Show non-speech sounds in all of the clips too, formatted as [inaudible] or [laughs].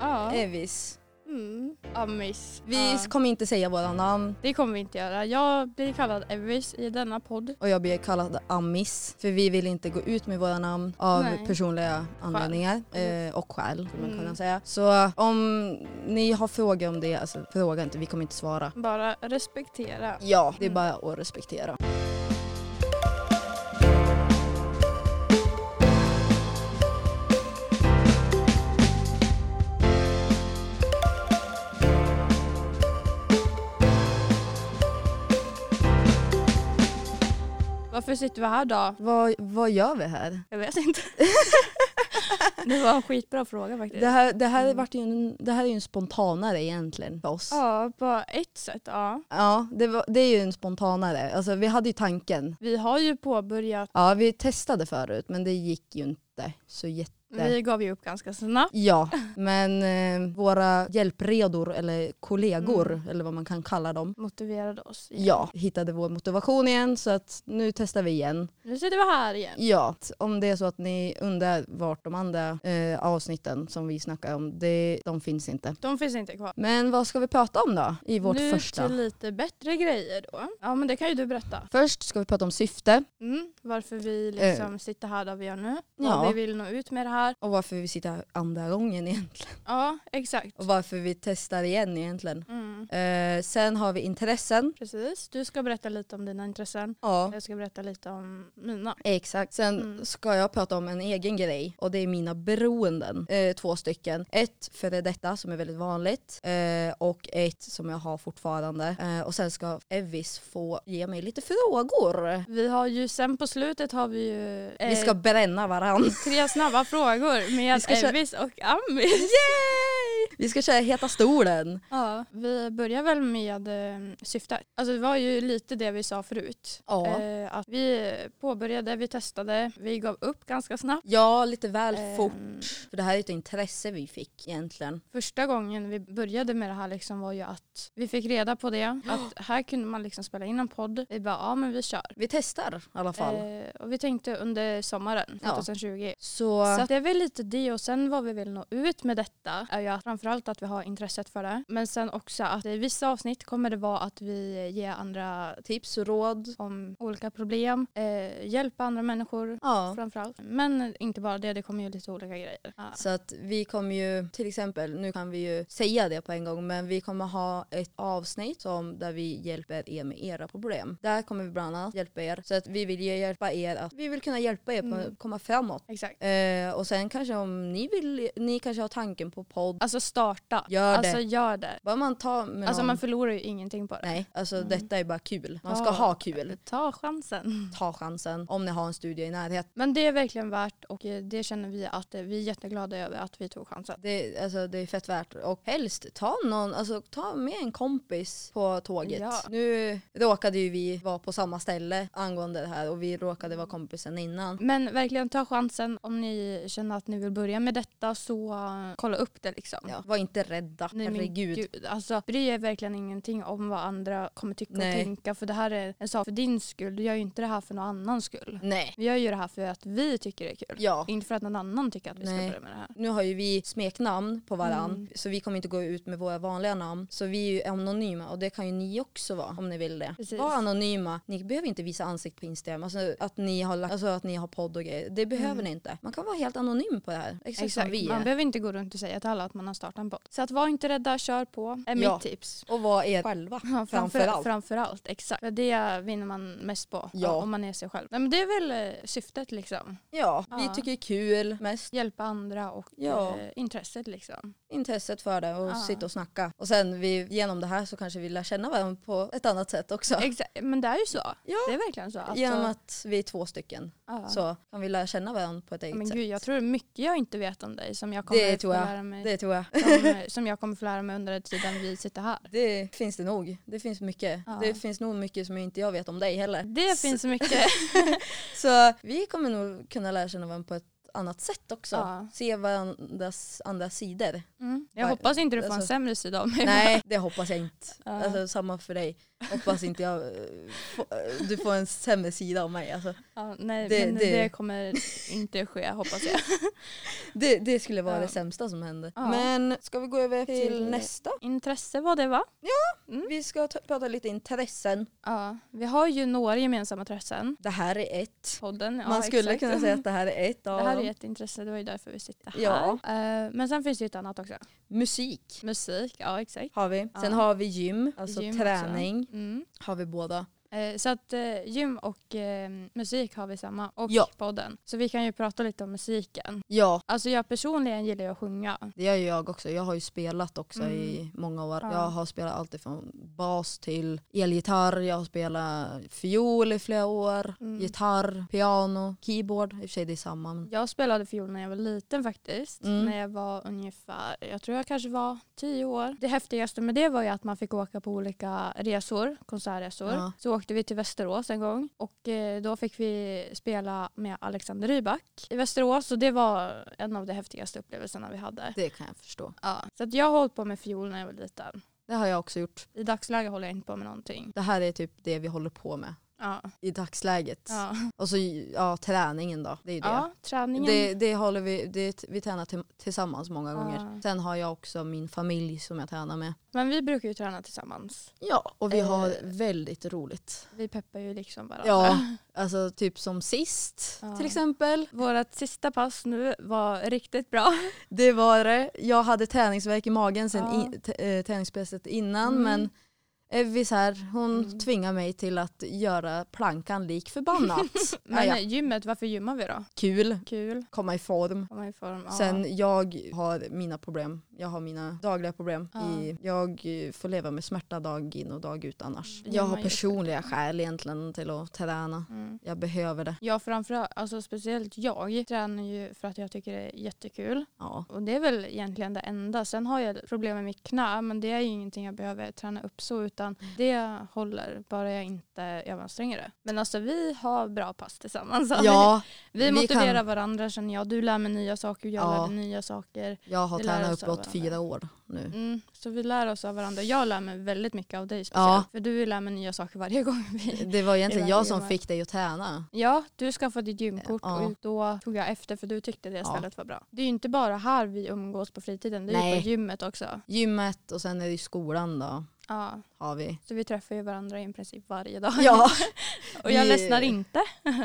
Ja. Evis. Mm. Eh, Amis. Vi Ja. kommer inte säga våra namn Det kommer vi inte göra. Jag blir kallad Evis i denna podd. och jag blir kallad Amis för vi vill inte gå ut med våra namn av Nej. personliga anledningar eh, och skäl. skulle Man Mm. kunna säga. Så om ni har frågor om det, alltså fråga inte, vi kommer inte svara. Bara respektera. Ja, det är Mm. bara att respektera. Varför sitter vi här då? Vad, vad gör vi här? Jag vet inte. [laughs] det var en skitbra fråga faktiskt. Det här, det här, Mm. vart ju en, det här är ju en spontanare egentligen för oss. Ja, på ett sätt ja. Ja, det, var, det är ju en spontanare. Alltså, vi hade ju tanken. Vi har ju påbörjat. Ja, vi testade förut men det gick ju inte så jätte... Vi gav ju upp ganska snabbt. Ja, men eh, våra hjälpredor eller kollegor Mm. eller vad man kan kalla dem. Motiverade oss. igen. Ja, hittade vår motivation igen så att nu testar vi igen. Nu sitter vi här igen. Ja, t- om det är så att ni undrar vart de andra eh, avsnitten som vi snackar om, det, de finns inte. De finns inte kvar. Men vad ska vi prata om då i vårt nu första? till lite bättre grejer då. Ja men det kan ju du berätta. Först ska vi prata om syfte Mm, varför vi liksom sitter här där vi gör nu. Ja. Vad vi vill nå ut med det här. och varför vi sitter här andra gången egentligen. Ja exakt. Och varför vi testar igen egentligen. Mm. Eh, sen har vi intressen. Precis. Du ska berätta lite om dina intressen. Ja. Jag ska berätta lite om mina. Exakt. Sen Mm. ska jag prata om en egen grej och det är mina beroenden. Eh, två stycken. Ett före detta som är väldigt vanligt eh, och ett som jag har fortfarande. Eh, och sen ska Evis få ge mig lite frågor. Vi har ju sen på slutet har vi ju eh, Vi ska bränna varann. [laughs] tre snabba frågor Vi med ska köra- Elvis och [laughs] Amis. Yay! Vi ska köra Heta stolen. Ja, vi börjar väl med eh, syftet. Alltså det var ju lite det vi sa förut. Ja. Eh, att vi påbörjade, vi testade, vi gav upp ganska snabbt. Ja, lite väl Eh, fort. För det här är ett intresse vi fick egentligen. Första gången vi började med det här liksom var ju att vi fick reda på det. Att här kunde man liksom spela in en podd. Vi bara, ja men vi kör. Vi testar i alla fall. Eh, och vi tänkte under sommaren Ja. 2020. så, Så att det är väl lite det och sen vad vi vill nå ut med detta är ju att framförallt att vi har intresset för det. Men sen också att i vissa avsnitt kommer det vara att vi ger andra tips och råd. om olika problem, eh, hjälpa andra människor Ja. framförallt. Men inte bara det, det kommer ju lite olika grejer. Ja. Så att vi kommer ju, till exempel, nu kan vi ju säga det på en gång, men vi kommer ha ett avsnitt som, där vi hjälper er med era problem. Där kommer vi bland annat hjälpa er. Så att vi vill ju hjälpa er att, vi vill kunna hjälpa er på, Mm. komma framåt. Exakt. Eh, och sen kanske om ni vill, ni kanske har tanken på podd, Alltså starta. Gör det. Alltså gör det. bara man tar med Alltså någon, man förlorar ju ingenting på det. Nej, alltså Mm. detta är bara kul. Man ska Ja. [clears throat] ha kul. Ta chansen. Ta chansen om ni har en studio i närheten. Men det är verkligen värt och eh, det känner vi att eh, vi är jätteglada över att vi tog chansen. Det, alltså, det är fett värt och helst ta någon, alltså ta med en kompis på tåget. Ja. Nu råkade ju vi vara på samma ställe angående det här och vi råkade vara kompisen innan. Men verkligen ta chansen om ni känner att ni vill börja med detta så eh, kolla upp det liksom. Ja, var inte rädda, Nej, men herregud. gud, alltså bry er verkligen ingenting om vad andra kommer tycka Nej. och tänka för det här är en sak för din skull. Du gör ju inte det här för någon annans skull. Nej. Vi gör ju det här för att vi tycker det är kul. Mm. Ja. Inte för att någon annan tycker att vi Nej. ska börja med det här. Nu har ju vi smeknamn på varann Mm. så vi kommer inte gå ut med våra vanliga namn. Så vi är ju anonyma och det kan ju ni också vara om ni vill det. Precis. Var anonyma. Ni behöver inte visa ansikt på Instagram, alltså att ni har, lagt- alltså att ni har podd och grejer. Det behöver Mm. ni inte. Man kan vara helt anonym på det här. Exakt, som vi Man är. behöver inte gå runt och säga till alla att man har startat en podd. Så att var inte rädda, kör på. är Ja. mitt tips. Och vara er [laughs] själva. Ja, Framförallt. Framförallt, exakt. För det vinner man mest på Ja. om man är sig själv. Nej, men det är väl eh, syftet liksom. Ja, vi Ja. tycker det är kul mest. Hjälpa andra och Ja. eh, intresset liksom. Intresset för det och Ja. sitta och snacka. Och sen vi, genom det här så kanske vi lär känna varandra på ett annat sätt också. Exakt. Men det är ju så. Ja. Det är verkligen så. Alltså, [laughs] Genom att vi är två stycken ja. så kan vi lära känna varandra på ett Ja, eget Men sätt. gud, jag tror mycket jag inte vet om dig som jag kommer Det tror få jag. lära mig. Det tror jag. Som, eh, som jag kommer få lära mig under den tiden vi sitter här. Det finns det nog. Det finns mycket. Ja. Mm. Det finns nog mycket som inte jag vet om dig heller. Det S- finns [laughs] mycket. Så vi kommer nog kunna lära känna varandra på ett annat sätt också. Ja. [laughs] Se varandras andra sidor. Mm. Det Jag Vad- hoppas inte du får en alltså- sämre sida av mig. Nej det hoppas jag inte. Ja. Alltså, samma för dig. Hoppas inte jag, eh, få, eh, du får en sämre sida av mig. Alltså, ja, nej det- men det- det kommer inte ske hoppas [laughs] jag. det, det skulle vara Ja. det sämsta som hände. Ja. Men ska vi gå över till, Till- nästa? Intresse var det va? Vi ska ta, prata lite intressen. Ja. Vi har ju några gemensamma intressen. Det här är ett. Podden, ja, Man skulle exakt. kunna säga att det här är ett [laughs] av Det här dem. är ett intresse, det var ju därför vi sitter här. Ja. Eh, men sen finns det ju ett annat också. Musik Musik, ja exakt. har vi. Sen Ja. har vi gym, alltså Gym också. träning. Mm. Har vi båda. Eh, så att eh, gym och eh, musik har vi samma och Ja. podden. Så vi kan ju prata lite om musiken. Ja, Alltså jag personligen gillar ju att sjunga. det gör ju jag också. Jag har ju spelat också i många år. Mm. Ja. Jag har spelat allt ifrån bas till elgitarr. Jag har spelat fiol i flera år. Mm. Gitarr, piano, keyboard. I och för sig det är samma. Men... Jag spelade fiol när jag var liten faktiskt. Mm. När jag var ungefär, jag tror jag kanske var tio år. Det häftigaste med det var ju att man fick åka på olika resor, konsertresor. Ja. Så åkte vi till Västerås en gång och eh, då fick vi spela med Alexander Rybak i Västerås och det var en av de häftigaste upplevelserna vi hade. Det kan jag förstå. Ja. Så att jag har hållit på med fiol när jag var liten. Det har jag också gjort. I dagsläget håller jag inte på med någonting. Det här är typ det vi håller på med Ja, i dagsläget. ja. Och så ja, träningen då. Det är ju det. ja träningen. Det, det håller vi, det, vi tränar till, tillsammans många Ja. gånger. Sen har jag också min familj som jag tränar med. Men vi brukar ju träna tillsammans. Ja, och vi har Eh. väldigt roligt. Vi peppar ju liksom varandra. [laughs] Ja, alltså typ som sist Ja. till exempel. Vårt sista pass nu var riktigt bra. Det var det. Jag hade träningsverk i magen sen Ja. i, t- eh, träningspasset innan Mm. men Evis här, hon Mm. tvingar mig till att göra plankan lik [laughs] förbannat. Men ja, ja. gymmet, varför gymmar vi då? Kul, Kul, komma i form. komma i form. Ja. Sen jag har mina problem. Jag har mina dagliga problem. Ja. I, jag eh, får leva med smärta dag in och dag ut annars. Mm. Jag Ja, har man gör personliga skäl egentligen till att träna. Mm. Jag behöver det. Ja, framförallt, alltså speciellt jag tränar ju för att jag tycker det är jättekul. Ja. Och det är väl egentligen det enda. Sen har jag problem med mitt knä, men det är ju ingenting jag behöver träna upp så, utan det håller bara jag inte överanstränger det. Men alltså vi har bra pass tillsammans. Ja, vi, vi motiverar kan- varandra känner jag. Du lär mig nya saker, jag Ja. lär dig nya saker. jag har Vi lär tränat oss av uppåt varandra. fyra år nu. Mm, så vi lär oss av varandra. Jag lär mig väldigt mycket av dig speciellt. typ. Ja. För du lär mig nya saker varje [laughs] gång vi... Det var egentligen jag Mm. Det som var- fick dig att träna. Ja, du skaffade ditt gymkort Ja. och då tog jag efter för du tyckte det Ja. stället var bra. Det är ju inte bara här vi umgås på fritiden, det är ju Nej. på gymmet också. Gymmet och sen är det i skolan då, Ja, har vi. [laughs] så vi träffar ju varandra i princip varje dag. Ja, [laughs] och jag vi- ledsnar [laughs] inte.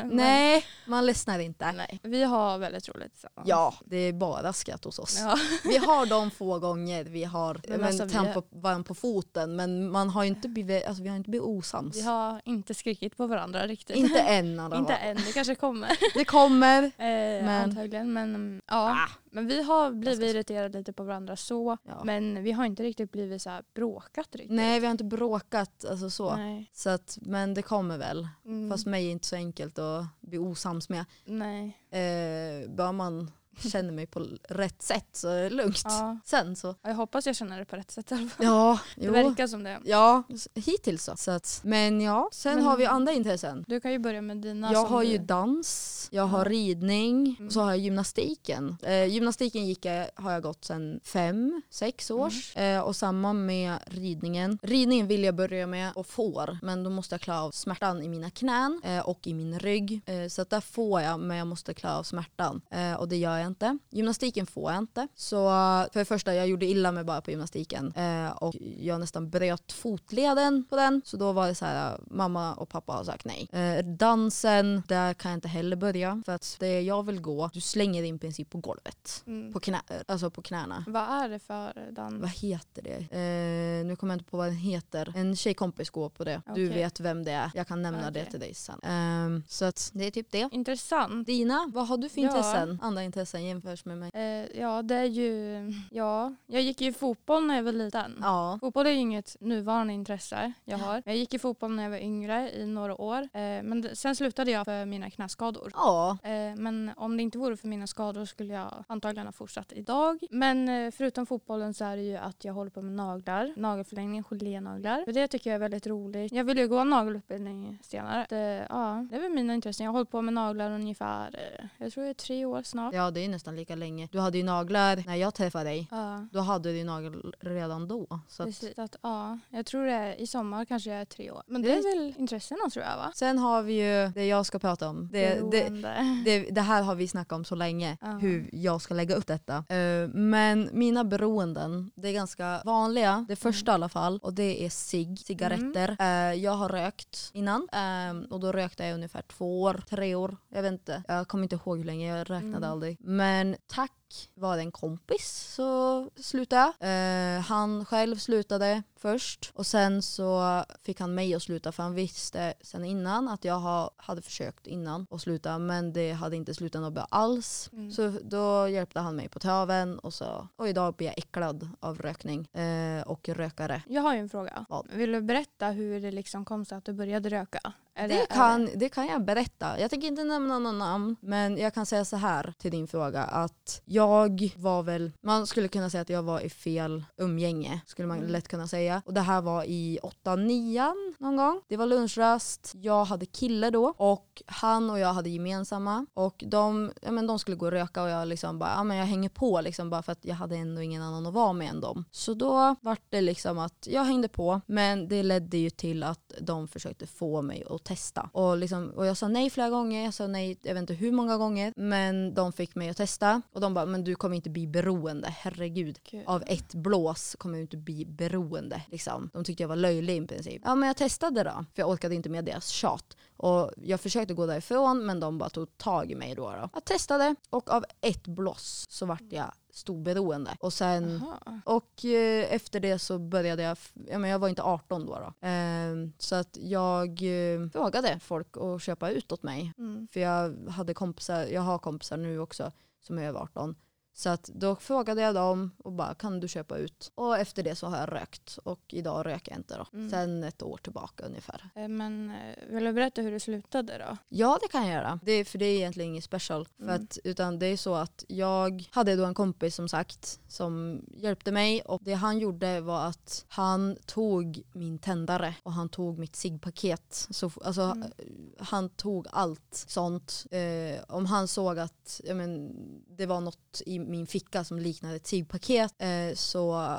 nej, man ledsnar inte. Nej. Vi har väldigt roligt tillsammans. Ja, det är bara skratt hos oss. Ja. Vi har de få gånger vi har Men men alltså, vi- trampat varandra på foten men man har ju inte blivit, alltså, vi har inte blivit osams. Vi har inte skrikit på varandra riktigt. Inte än i [laughs] alla inte fall. än, det kanske kommer. Det kommer. Eh, Antagligen, men mm, ja. Men vi har blivit Ganska så. irriterade lite på varandra så, Ah. Ja. men vi har inte riktigt blivit så här bråkat riktigt. Nej vi har inte bråkat alltså så. Nej. så att, men det kommer väl. Mm. Fast mig är inte så enkelt att bli osams med. Nej. Eh, bara man känner mig på rätt sätt så är det lugnt. Ja. Sen så. Ja, Jag hoppas jag känner det på rätt sätt i alla fall. Ja, Det jo. verkar som det. Ja, s- hittills så. så att, men ja, sen Men- har vi andra intressen. Du kan ju börja med dina. Jag som har du- ju dans, jag har ridning och så har jag gymnastiken. Eh, gymnastiken gick jag, har jag gått sedan fem, sex års. Eh, och samma med ridningen. Ridningen vill jag börja med och får men då måste jag klara av smärtan i mina knän eh, och i min rygg. Eh, så att där får jag men jag måste klara av smärtan eh, och det gör jag inte. Gymnastiken får jag inte. Så eh, för det första jag gjorde illa mig bara på gymnastiken eh, och jag nästan bröt fotleden på den. Så då var det så här eh, mamma och pappa har sagt nej. Eh, dansen, där kan jag inte heller börja för att det jag vill gå, du slänger i princip på golvet. Mm. På, knä, alltså på knäna. Vad är det för dans? Vad heter det? Eh, nu kommer jag inte på vad den heter. En tjejkompis går på det. Du Okej. vet vem det är. Jag kan nämna det Okej. till dig sen. Ehm, så att det är typ det. Intressant. Dina, vad har du för Ja. intressen? Andra intressen jämförs med mig. Eh, ja, det är ju... Ja, jag gick ju i fotboll när jag var liten. Ja. Fotboll är ju inget nuvarande intresse jag har. Jag gick i fotboll när jag var yngre i några år. Eh, men d- sen slutade jag för mina knäskador. Ja. Eh, Men om det inte vore för mina skador skulle jag antagligen ha fortsatt idag. Men eh, förutom fotbollen så är det ju att jag håller på med naglar. Nagelförlängning, gelénaglar. För det tycker jag är väldigt roligt. Jag vill ju gå en nagelutbildning senare. Det, ja, det är väl mina intressen. Jag har hållit på med naglar ungefär, eh, jag tror det är tre år snart. Ja det är ju nästan lika länge. Du hade ju naglar när jag träffade dig. Ja. Då hade du ju naglar redan då. Så att Precis, att, ja, jag tror det är, i sommar kanske jag är tre år. Men det, Det- är väl intressena tror jag va? Sen har vi ju det jag ska prata om. Det, det, Beroende. det, det här har vi snackat om så länge, Ja. hur jag ska lägga upp detta. Eh, men mina beroenden, det är ganska vanliga, det första i Mm. alla fall, och det är cigg, cigaretter. Eh, jag har rökt innan eh, och då rökte jag ungefär två år, tre år, jag vet inte. Jag kommer inte ihåg hur länge, jag räknade Mm. aldrig. Men tack vare en kompis så slutade jag. Eh, han själv slutade först och sen så fick han mig att sluta för han visste sen innan att jag ha, hade försökt innan att sluta men det hade inte slutat något bra alls. Mm. Så då hjälpte han mig på traven och, så, och idag blir jag äcklad av rökning eh, och rökare. Jag har ju en fråga. Vad? Vill du berätta hur det liksom kom sig att du började röka? Är Det är kan, det kan jag berätta. Jag tänker inte nämna någon namn, men jag kan säga så här till din fråga att jag var väl, man skulle kunna säga att jag var i fel umgänge, skulle man Mm. lätt kunna säga. Och det här var i åtta, nian någon gång. Det var lunchrast, jag hade kille då och han och jag hade gemensamma och de, ja, men de skulle gå och röka och jag liksom bara, ja men jag hänger på liksom bara för att jag hade ändå ingen annan att vara med än dem. Så då vart det liksom att jag hängde på men det ledde ju till att de försökte få mig att testa. Och, liksom, och jag sa nej flera gånger, jag sa nej jag vet inte hur många gånger men de fick mig att testa och de bara men du kommer inte bli beroende, herregud Gud. av ett blås kommer jag inte bli beroende. Liksom. De tyckte jag var löjlig i princip. Ja men jag testade då, för jag orkade inte med deras tjat. Och jag försökte gå därifrån men de bara tog tag i mig då. då. Jag testade och av ett blås så vart jag storberoende. Och sen Jaha. och eh, efter det så började jag, f- ja, men jag var inte 18 då. då. Ehm, så att jag eh, frågade folk att köpa ut åt mig. Mm. För jag hade kompisar, jag har kompisar nu också som är över 18. Så att då frågade jag dem och bara kan du köpa ut? Och efter det så har jag rökt och idag röker jag inte då. Mm. Sen ett år tillbaka ungefär. Eh, Men eh, vill du berätta hur det slutade då? Ja det kan jag göra. Det, för det är egentligen inget special. För Mm. att, utan det är så att jag hade då en kompis som sagt som hjälpte mig och det han gjorde var att han tog min tändare och han tog mitt ciggpaket. Så, f- alltså, Mm. han tog allt sånt. Eh, om han såg att ja, men, det var något i min ficka som liknade ett cigpaket eh, så eh,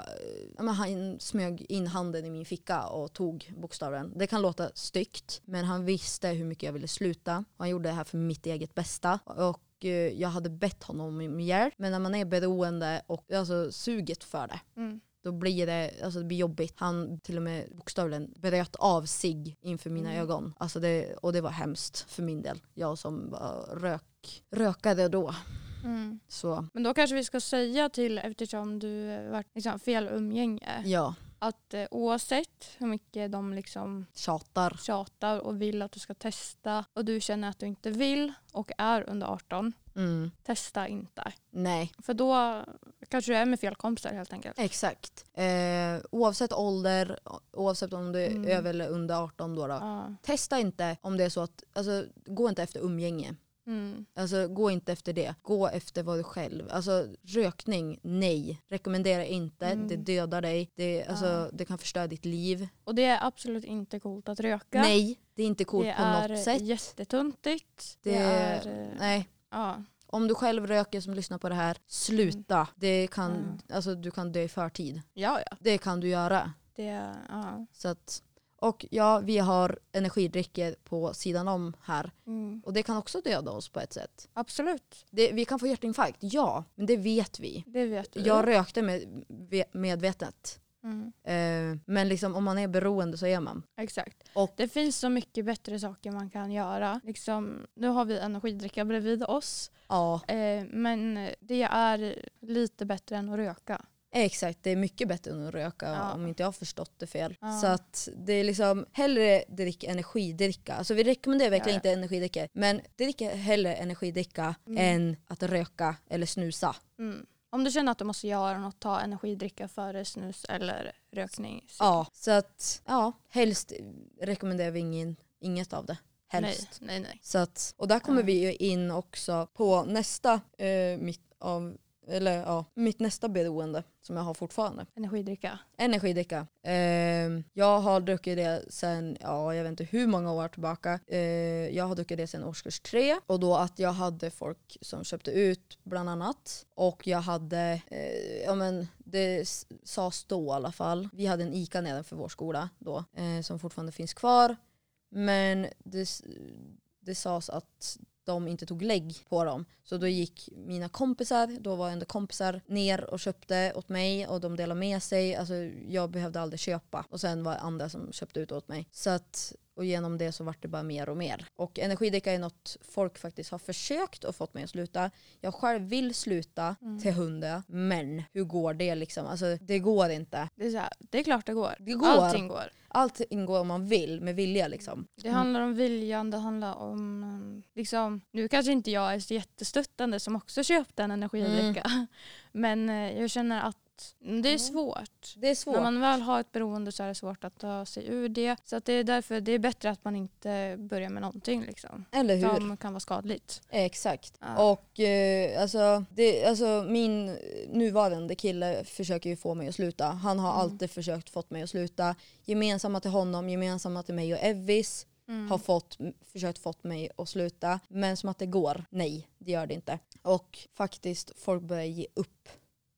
ja, men, han smög in handen i min ficka och tog bokstaven. Det kan låta styggt men han visste hur mycket jag ville sluta och han gjorde det här för mitt eget bästa. Och och eh, jag hade bett honom om hjälp. Men när man är beroende och alltså, suget för det Mm. då blir det, alltså det blir jobbigt. Han till och med bokstavligen bröt av sig inför mina Mm. ögon. Alltså det, och det var hemskt för min del. Jag som var rök, rökade då. Mm. Så Men då kanske vi ska säga till, eftersom du eh, varit liksom fel umgänge, ja, att eh, oavsett hur mycket de liksom tjatar. tjatar och vill att du ska testa och du känner att du inte vill och är under 18, Mm. testa inte. Nej, För då kanske du är med fel kompisar helt enkelt. exakt. Eh, oavsett ålder, o- oavsett om du är Mm. över eller under 18 då. då Ja. Testa inte om det är så att, alltså gå inte efter umgänge. Mm. Alltså gå inte efter det. Gå efter vad du själv, alltså rökning, nej. Rekommendera inte, Mm. det dödar dig. Det, alltså, Ja. det kan förstöra ditt liv. Och det är absolut inte coolt att röka. Nej, det är inte coolt det på är något sätt. jättetuntigt. Det, Det- är... eh, Nej. Ja. Om du själv röker som lyssnar på det här, sluta. Det kan, Mm. Ja. alltså, du kan dö i förtid. ja, ja. Det kan du göra. Det, är- ja. Så att, och ja, vi har energidrycker på sidan om här. Mm. Och det kan också döda oss på ett sätt. Absolut, Det, vi kan få hjärtinfarkt, ja. Men det vet vi. det vet du. Jag rökte med, medvetet. Mm. Eh, men liksom, om man är beroende så är man. Exakt. Och- det finns så mycket bättre saker man kan göra. Liksom, nu har vi energidricka bredvid oss. Ja, Eh, men det är lite bättre än att röka. exakt. Det är mycket bättre än att röka Ja. om inte jag har förstått det fel. Ja. Så att det är liksom hellre drick energidricka. Alltså vi rekommenderar verkligen Ja, inte energidricka. Men drick hellre energidricka Mm. än att röka eller snusa. Mm. Om du känner att du måste göra något, ta energidricka före snus eller rökning. Ja, typ. så att ja, helst rekommenderar vi ingen, inget av det. Helst. Nej, nej, nej. Så att, och där kommer Ja. vi ju in också på nästa eh, mitt av eller ja, mitt nästa beroende som jag har fortfarande. Energidricka. Energidricka. Ehm, jag har druckit det sen, ja jag vet inte hur många år tillbaka. Ehm, jag har druckit det sen årskurs tre och då att jag hade folk som köpte ut bland annat och jag hade, eh, ja men det s- sades då i alla fall. Vi hade en ICA nedanför vår skola då eh, som fortfarande finns kvar. Men det, s- det sades att de inte tog lägg på dem. Så då gick mina kompisar, då var ändå kompisar, ner och köpte åt mig och de delade med sig. Alltså jag behövde aldrig köpa. Och sen var det andra som köpte ut åt mig. Så att, och genom det så vart det bara mer och mer. Och energidricka är något folk faktiskt har försökt och fått mig att sluta. Jag själv vill sluta Mm. till hundra, men hur går det liksom? Alltså det går inte. Det är, så här, det är klart det går. Det går. Allting går. Allt ingår om man vill, med vilja liksom. Det handlar om viljan, det handlar om... um, Liksom, nu kanske inte jag är så jättestöttande som också köpte en energidricka. [laughs] Men eh, jag känner att mm, det är Mm. svårt. Det är svårt. När man väl har ett beroende så är det svårt att ta sig ur det. Så att det är därför det är bättre att man inte börjar med någonting liksom, Eller hur? som kan vara skadligt. Exakt. Ja. Och eh, alltså, det, alltså min nuvarande kille försöker ju få mig att sluta. Han har Mm. alltid försökt fått mig att sluta. Gemensamma till honom, gemensamma till mig och Evis Mm. har fått, m- försökt fått mig att sluta. Men som att det går, nej det gör det inte. Och faktiskt folk börjar ge upp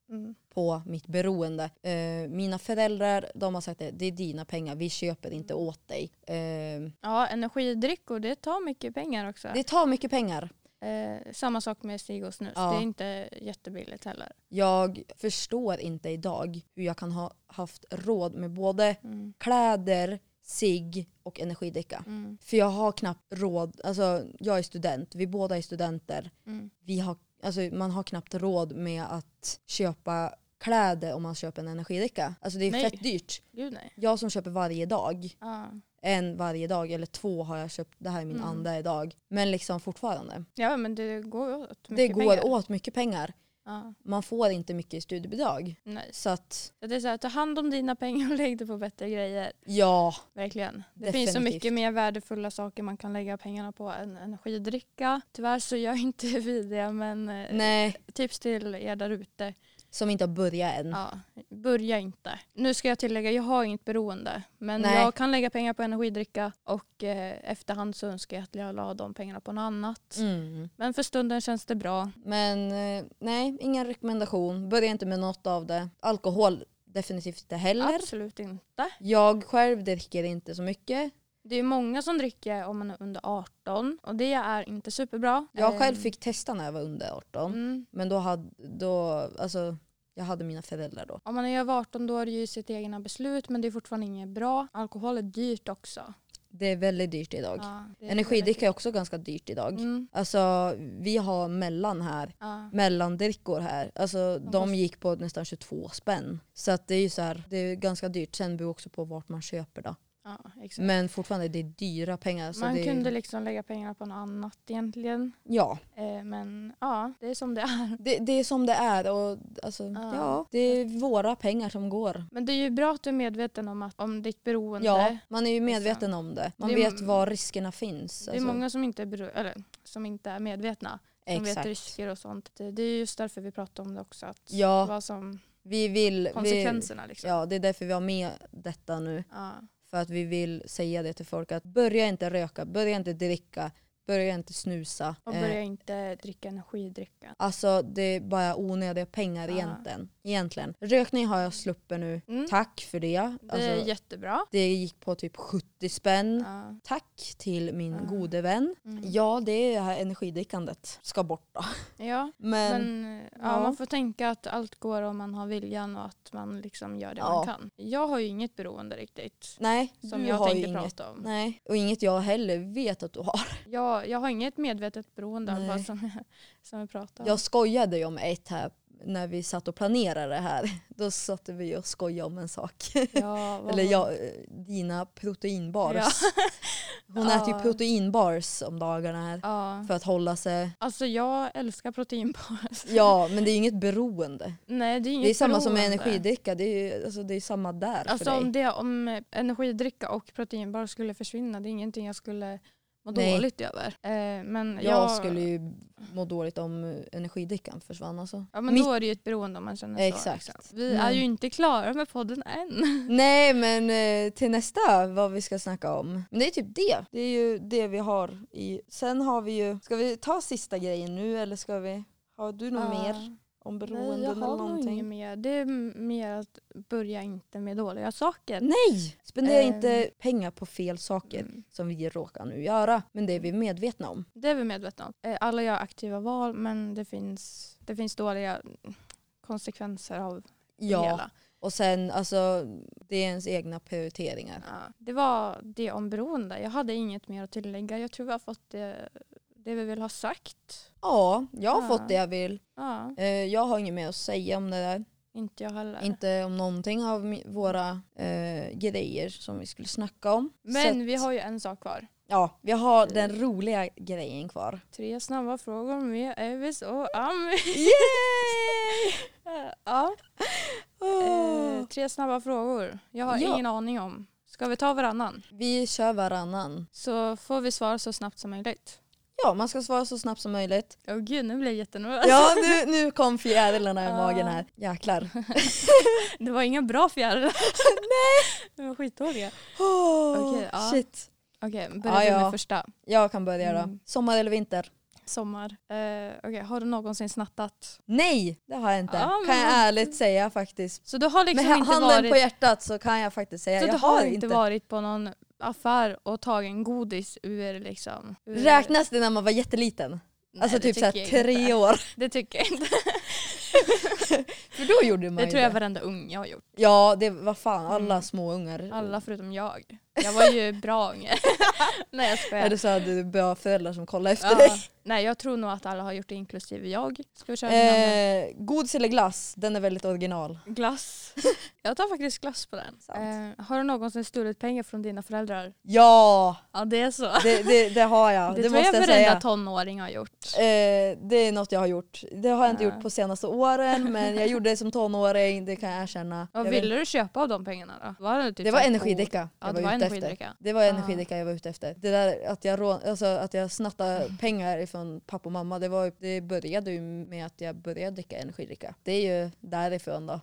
Mm. på mitt beroende. Eh, mina föräldrar de har sagt det, det är dina pengar, vi köper inte åt dig. Eh, Ja, energidrickor det tar mycket pengar också. det tar mycket pengar. Eh, samma sak med stig och snus. Ja. Det är inte jättebilligt heller. Jag förstår inte idag hur jag kan ha haft råd med både Mm. kläder, cigg och energidricka. Mm. För jag har knappt råd, alltså jag är student, vi båda är studenter. Mm. Vi har, alltså, man har knappt råd med att köpa kläder om man köper en energidricka. Alltså det är Nej. fett dyrt. Gud nej. Jag som köper varje dag, Ja. en varje dag eller två har jag köpt, det här är min Mm. andra idag. Men liksom fortfarande. Ja men det går åt mycket det går pengar. åt mycket pengar. Ja, Man får inte mycket i studiebidrag. nej. Så att Så det är så här, ta hand om dina pengar och lägg det på bättre grejer. Ja, Verkligen. Det finns så Definitivt. mycket mer värdefulla saker man kan lägga pengarna på än energidricka. Tyvärr så gör [laughs] inte vi det men eh, nej. Mm. tips till er där ute. Som inte har börjat än. Ja, börja inte. Nu ska jag tillägga, jag har inget beroende men Nej. jag kan lägga pengar på energidricka och eh, efterhand så önskar jag att jag la de pengarna på något annat. Mm. Men för stunden känns det bra. Men eh, nej, ingen rekommendation. Börja inte med något av det. Alkohol definitivt inte heller. Absolut inte. Jag själv dricker inte så mycket. Det är många som dricker om man är under 18 och det är inte superbra. Jag Eh, själv fick testa när jag var under 18. Mm. Men då hade, då, alltså, jag hade mina föräldrar då. Om man är över 18 då är det ju sitt egna beslut men det är fortfarande inget bra. Alkohol är dyrt också. Det är väldigt dyrt idag. Ja, det är Energidricka är också ganska dyrt idag. väldigt dyrt. Mm. Alltså vi har mellan här. Ja. mellandrickor här. Alltså de fast- gick på nästan 22 spänn. Så att det är ju så här, det är ganska dyrt. Sen beror det också på vart man köper då. Ja, exakt. Men fortfarande det är dyra pengar. Mm, Så man det är, kunde liksom lägga pengarna på något annat egentligen. Ja, Eh, men ja, det är som det är. det, det är som det är och alltså, Ja. ja, det är våra pengar som går. Men det är ju bra att du är medveten om, att, om ditt beroende. Ja, man är ju medveten om det. Man Det är- vet var riskerna finns. Det är alltså. många som inte är, bero- eller, som inte är medvetna. Som vet risker och sånt. Det det är just därför vi pratar om det också. Att Ja. Vad som Vi vill, vi, konsekvenserna liksom. ja, det är därför vi har med detta nu. Ja. För att vi vill säga det till folk att börja inte röka, börja inte dricka, börja inte snusa. Och Eh, börja inte dricka energidricka. Alltså det är bara onödiga pengar Ja. egentligen. egentligen. Rökning har jag sluppit nu. Mm. Tack för det. Det Alltså, är det, jättebra. gick på typ 70 spänn. Ja. Tack till min Ja. gode vän. Mm. Ja, det är det här energidrickandet ska bort då. Ja. Men, Men ja, ja. man får tänka att allt går om man har viljan och att man liksom gör det Ja. man kan. Jag har ju inget beroende riktigt. nej, Som du jag har ju tänkte inget. prata om. Nej, och inget jag heller vet att du har. Jag, jag har inget medvetet beroende Nej. alltså, som, jag- som vi pratar om. Jag skojade ju om ett här när vi satt och planerade det här. [laughs] Då satt vi och skojade om en sak. Ja, vad Eller var- jag, eh, dina proteinbars. Ja. Hon Ja. äter ju proteinbars om dagarna här. Ja. För att hålla sig... Alltså jag älskar proteinbars. Ja, men det är ju inget beroende. [laughs] Nej det är inget det är samma som med beroende. energidricka, det är ju alltså, det är samma där Alltså för dig. om, det, om energidricka och proteinbar skulle försvinna, det är ingenting jag skulle må Nej. dåligt över. Eh, men jag, Jag skulle ju må dåligt om eh, energidrickan försvann alltså. Ja men mitt- då är det ju ett beroende om man känner så. Exakt. liksom. Vi är Men- ju inte klara med podden än. Nej men eh, till nästa vad vi ska snacka om. Men det är typ det. Det är ju det vi har i. Sen har vi ju, ska vi ta sista grejen nu eller ska vi, har du något mer om Ah, Nej, beroenden jag eller har nog inget någonting? mer. Det är m- mer att börja inte med dåliga saker. Nej! Spendera Eh. inte pengar på fel saker Mm. som vi råkar nu göra. Men det är vi medvetna om. Det är vi medvetna om. Eh, Alla gör aktiva val men det finns, det finns dåliga konsekvenser av det Ja, hela. och sen alltså det är ens egna prioriteringar. Ja. Det var det om beroende. Jag hade inget mer att tillägga. Jag tror vi har fått det, det vi vill ha sagt. Ja, jag har Ja. fått det jag vill. Ja, Eh, jag har inget mer att säga om det där. inte jag heller. Inte om någonting av mi- våra eh, grejer som vi skulle snacka om. Så men att- vi har ju en sak kvar. Ja, vi har den roliga grejen kvar. Tre snabba frågor med Evis och Ami. [laughs] Yay! Eh, ja. Åh. eh, tre snabba frågor. Jag har Ja. ingen aning om. Ska vi ta varannan? Vi kör varannan. Så får vi svara så snabbt som möjligt. Ja, man ska svara så snabbt som möjligt. Åh gud, nu blir jag jättenervös. Ja, nu, nu kom fjärilarna i Ja. magen här. [laughs] Jäklar. Det var inga bra [laughs] fjärilar. Nej! De var skitdåliga. Oh, Okej, ja. Shit. Okej, börjar Ja, vi med ja. första. Jag kan börja då. Mm. Sommar eller vinter? Sommar. Eh, Okej, har du någonsin snattat? Nej, det har jag inte. Ja, men- kan jag ärligt säga faktiskt. Så du har liksom Med inte handen varit... på hjärtat så kan jag faktiskt säga så jag du har inte varit på någon affär och tagit en godis ur liksom... Ur... Räknas det när man var jätteliten? Nej, Alltså Mm. det typ tycker såhär jag tre inte. [laughs] år. Det tycker jag inte. För då gjorde man Det ju tror jag det. varenda ung jag har gjort. Ja, det var fan alla Mm. små ungar. Alla förutom jag. Jag var ju bra [laughs] unge. Nej jag skojar. Eller så hade du bra föräldrar som kollade efter Ja. dig. Nej jag tror nog att alla har gjort det inklusive jag. Ska vi köra eh. Eh, godis eller glass? Den är väldigt original. [laughs] glass? Jag tar faktiskt glass på den. Sant. Eh, har du någonsin stulit pengar från dina föräldrar? Ja, Ja det är så. det, det, det har [laughs] jag. det Det, tror måste jag jag varenda säga. tonåring har gjort. Eh, det är något jag har gjort. Det har jag inte Ja. gjort på senaste åren [laughs] men jag gjorde det som tonåring, det kan jag erkänna. Vad jag ville du köpa av de pengarna då? Var det, typ Det var så här energidricka Ja, jag det var var ute [laughs] efter. energidricka. Det var Ah. energidricka jag var ute efter. Det där att jag, rå, alltså, att [laughs] jag snattade pengar från pappa och mamma, det, var, ju- det började ju med att jag började dricka energidricka. Det är ju därifrån då.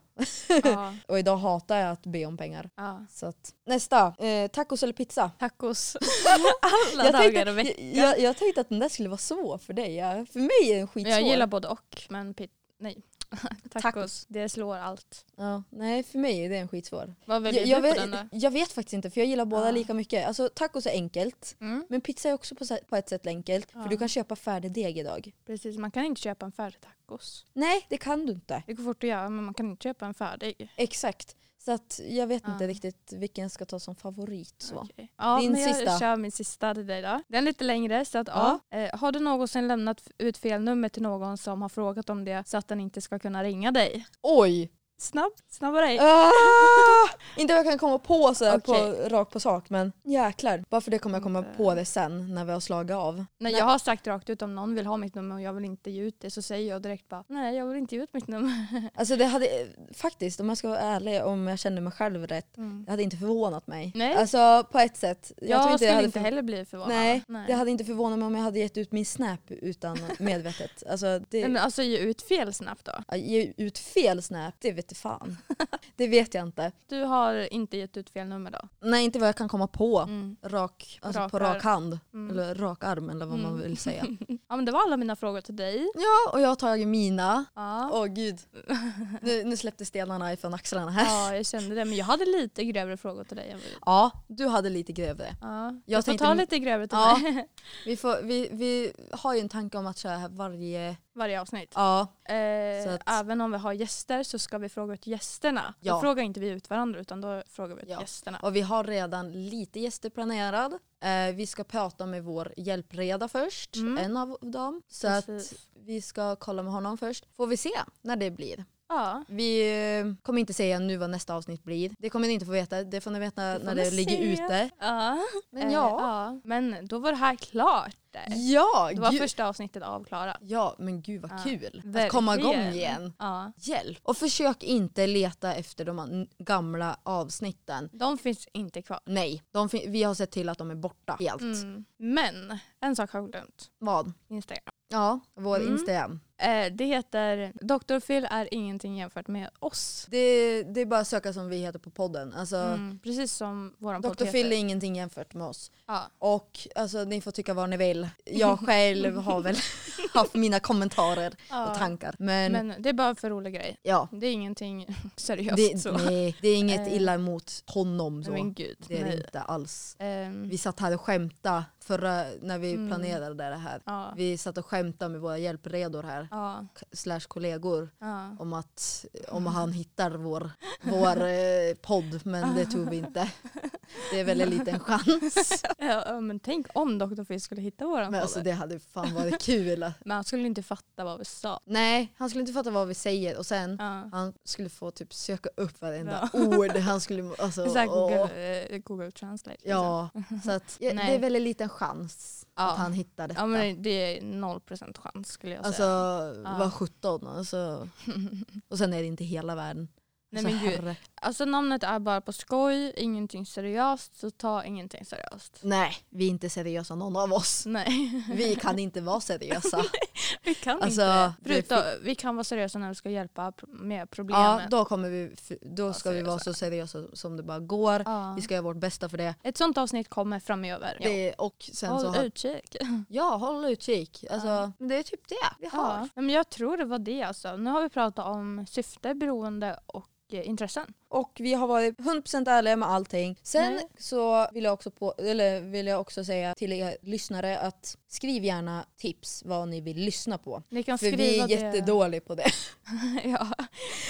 god? Ja, Och idag hatar jag att be om pengar. ja. Så att, nästa, eh, tacos eller pizza? [laughs] Tacos. alla dagar och jag, veckor. jag, jag tänkte att den där skulle vara svår för dig. Ja. För mig är den skitsvår. Jag gillar både och men pit- [laughs] nej. Tacos. Tacos. Det slår allt. ja, nej, för mig är den skitsvår. Vad väljer Jag, jag, du på den vet, då? jag vet faktiskt inte för jag gillar båda Ah. lika mycket. Alltså tacos är enkelt. Mm, Men pizza är också på, sä- på ett sätt enkelt, Ja. för du kan köpa färdig deg idag. precis, man kan inte köpa en färdig tacos. Nej, det kan du inte. Det går fort att göra men man kan inte köpa en färdig. Exakt. Så att jag vet inte Ja. riktigt vilken jag ska ta som favorit. Så. Okej. Ja, Din men jag sista. kör min sista till dig då. Den är lite längre så att ja. Eh, har du någonsin lämnat f- ut fel nummer till någon som har frågat om det så att den inte ska kunna ringa dig? Oj! Snabb, snabbare. Ah! [laughs] inte vad jag kan komma på sådär Okej. på, rakt på sak men jäklar. Bara för det kommer jag komma Inte. på det sen när vi har slagit av. Nej, jag har sagt rakt ut om någon vill ha mitt nummer och jag vill inte ge ut det så säger jag direkt bara nej jag vill inte ge ut mitt nummer. Alltså det hade eh, faktiskt, om jag ska vara ärlig, om jag kände mig själv rätt, det hade inte förvånat mig. Nej. Alltså på ett sätt. Mm. Jag, tror det skulle hade inte för- heller bli förvånad. Nej, nej. det hade inte förvånat mig om jag hade gett ut min snap [laughs] utan medvetet. Alltså, det... Nej, men alltså ge ut fel snabbt då. Ja, Ge ut fel snap, det vet du [laughs] fan. det vet jag inte. Du har inte gett ut fel nummer då? Nej, inte vad jag kan komma på. Mm. Rak, alltså Rak på rak hand. Mm. Eller rak arm eller vad man Mm. [laughs] vill säga. Ja men det var alla mina frågor till dig. Ja, och jag har tagit mina. Ja. Åh gud. Nu, nu släppte stenarna ifrån axlarna här. ja jag kände det men jag hade lite grövre frågor till dig än vad du- Ja, du hade lite grövre. Ja. Jag, Jag får tänkte- ta lite grövre till Ja. [laughs] mig Vi, får, vi, vi har ju en tanke om att köra här varje... varje avsnitt. Ja, Så Eh, att- Även om vi har gäster så ska vi fråga ut gästerna. Då Ja. frågar inte vi ut varandra utan då frågar vi ut Ja. gästerna. och vi har redan lite gäster planerad. Eh, vi ska prata med vår hjälpreda först, Mm. en av dem. Så att Precis. vi ska kolla med honom först. Får vi se när det blir. Ja. Vi eh, kommer inte säga nu vad nästa avsnitt blir. Det kommer ni inte få veta. Det får ni veta får när ni det ligger se. ute. Ja. Men Eh, ja, Men då var det här klart. det. Ja, Det var gud. första avsnittet avklarat. ja men gud vad Ja, kul att verkligen. komma igång igen. Ja. Hjälp! Och försök inte leta efter de an- gamla avsnitten. De finns inte kvar. Nej, de fin- vi har sett till att de är borta helt. Mm. Men en sak har jag glömt. Vad? Instagram. Ja, vår Mm. Instagram. Eh, det heter Dr. Phil är ingenting jämfört med oss. Det, det är bara att söka som vi heter på podden. Alltså, Mm. Precis som våran podd Dr. Phil är heter. ingenting jämfört med oss. Ja. Och alltså, ni får tycka vad ni vill. [laughs] Jag själv har väl [laughs] haft mina kommentarer Ja. och tankar. Men, Men det är bara för rolig grej. ja, Det är ingenting [laughs] seriöst det, så. nej, det är inget Eh. illa emot honom. Nej, [laughs] Så. Men gud. det är det nej. inte alls. Ehm, Vi satt här och skämtade förra, när vi Mm. planerade det här. ja. Vi satt och skämtade med våra hjälpredor här, ja. [laughs] k- slash kollegor, Ja. om att om han hittar vår, [laughs] vår eh, podd, men det tror vi inte. Det är väl en [laughs] liten chans. Ja, ja, men tänk om Dr. Phil skulle hitta våran Men podd. alltså det hade fan varit kul. att- Men han skulle inte fatta vad vi sa. Nej, han skulle inte fatta vad vi säger och sen Ja. han skulle få typ söka upp varenda ord. Han skulle, alltså, [laughs] Exakt, åh. Google, eh, Google Translate. liksom. Ja, så att, ja, det Nej. är väl en liten chans Ja. att han hittar detta. ja men det är noll procent chans skulle jag Alltså säga. var [laughs] 17 alltså. Och sen är det inte hela världen. Nej, Alltså, men gud. herre. Alltså namnet är bara på skoj, ingenting seriöst, så ta ingenting seriöst. Nej, vi är inte seriösa någon av oss. Nej, [laughs] Vi kan inte vara seriösa. vi kan Alltså, inte. det Förutom, vi kan vara seriösa när vi ska hjälpa pro- med ja, problemet. då, kommer vi, då ska vi vara seriösa. så seriösa som det bara går. Ja. Vi ska göra vårt bästa för det. Ett sånt avsnitt kommer framöver. Ja. det och sen så Håll har, utkik. Ja, håll utkik. Alltså, Ja. men Det är typ det vi har. Ja. Men jag tror det var det alltså. Nu har vi pratat om syfte, beroende och eh, intressen. Och vi har varit 100% ärliga med allting. Sen Nej. så vill jag, också på, eller vill jag också säga till er lyssnare att skriv gärna tips vad ni vill lyssna på. Ni kan För skriva vi är det... jättedåliga på det. [laughs] [laughs] ja.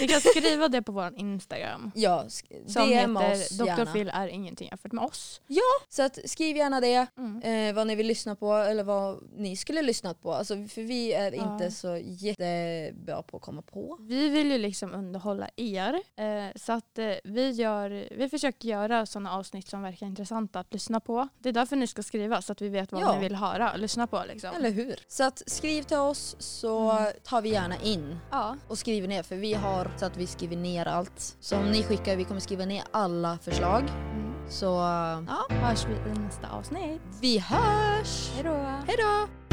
Ni kan skriva det på vår [laughs] Instagram. Ja, sk- Som DM oss heter Dr. gärna. Phil är ingenting jämfört med oss. Så att skriv gärna det, Mm. eh, vad ni vill lyssna på eller vad ni skulle lyssna på. Alltså, för vi är Ja. inte så jättebra på att komma på. Vi vill ju liksom underhålla er eh, så att eh, vi, gör, vi försöker göra sådana avsnitt som verkar intressanta att lyssna på. Det är därför ni ska skriva så att vi vet vad Ja. ni vill höra och lyssna på. Liksom. Eller hur? Så att skriv till oss så Mm. tar vi gärna in Ja, och skriver ner för vi har så att vi skriver ner allt som ni skickar. Vi kommer skriva ner alla förslag. mm. Så ja, hörs vi i nästa avsnitt. vi hörs! Hej då! Hej då!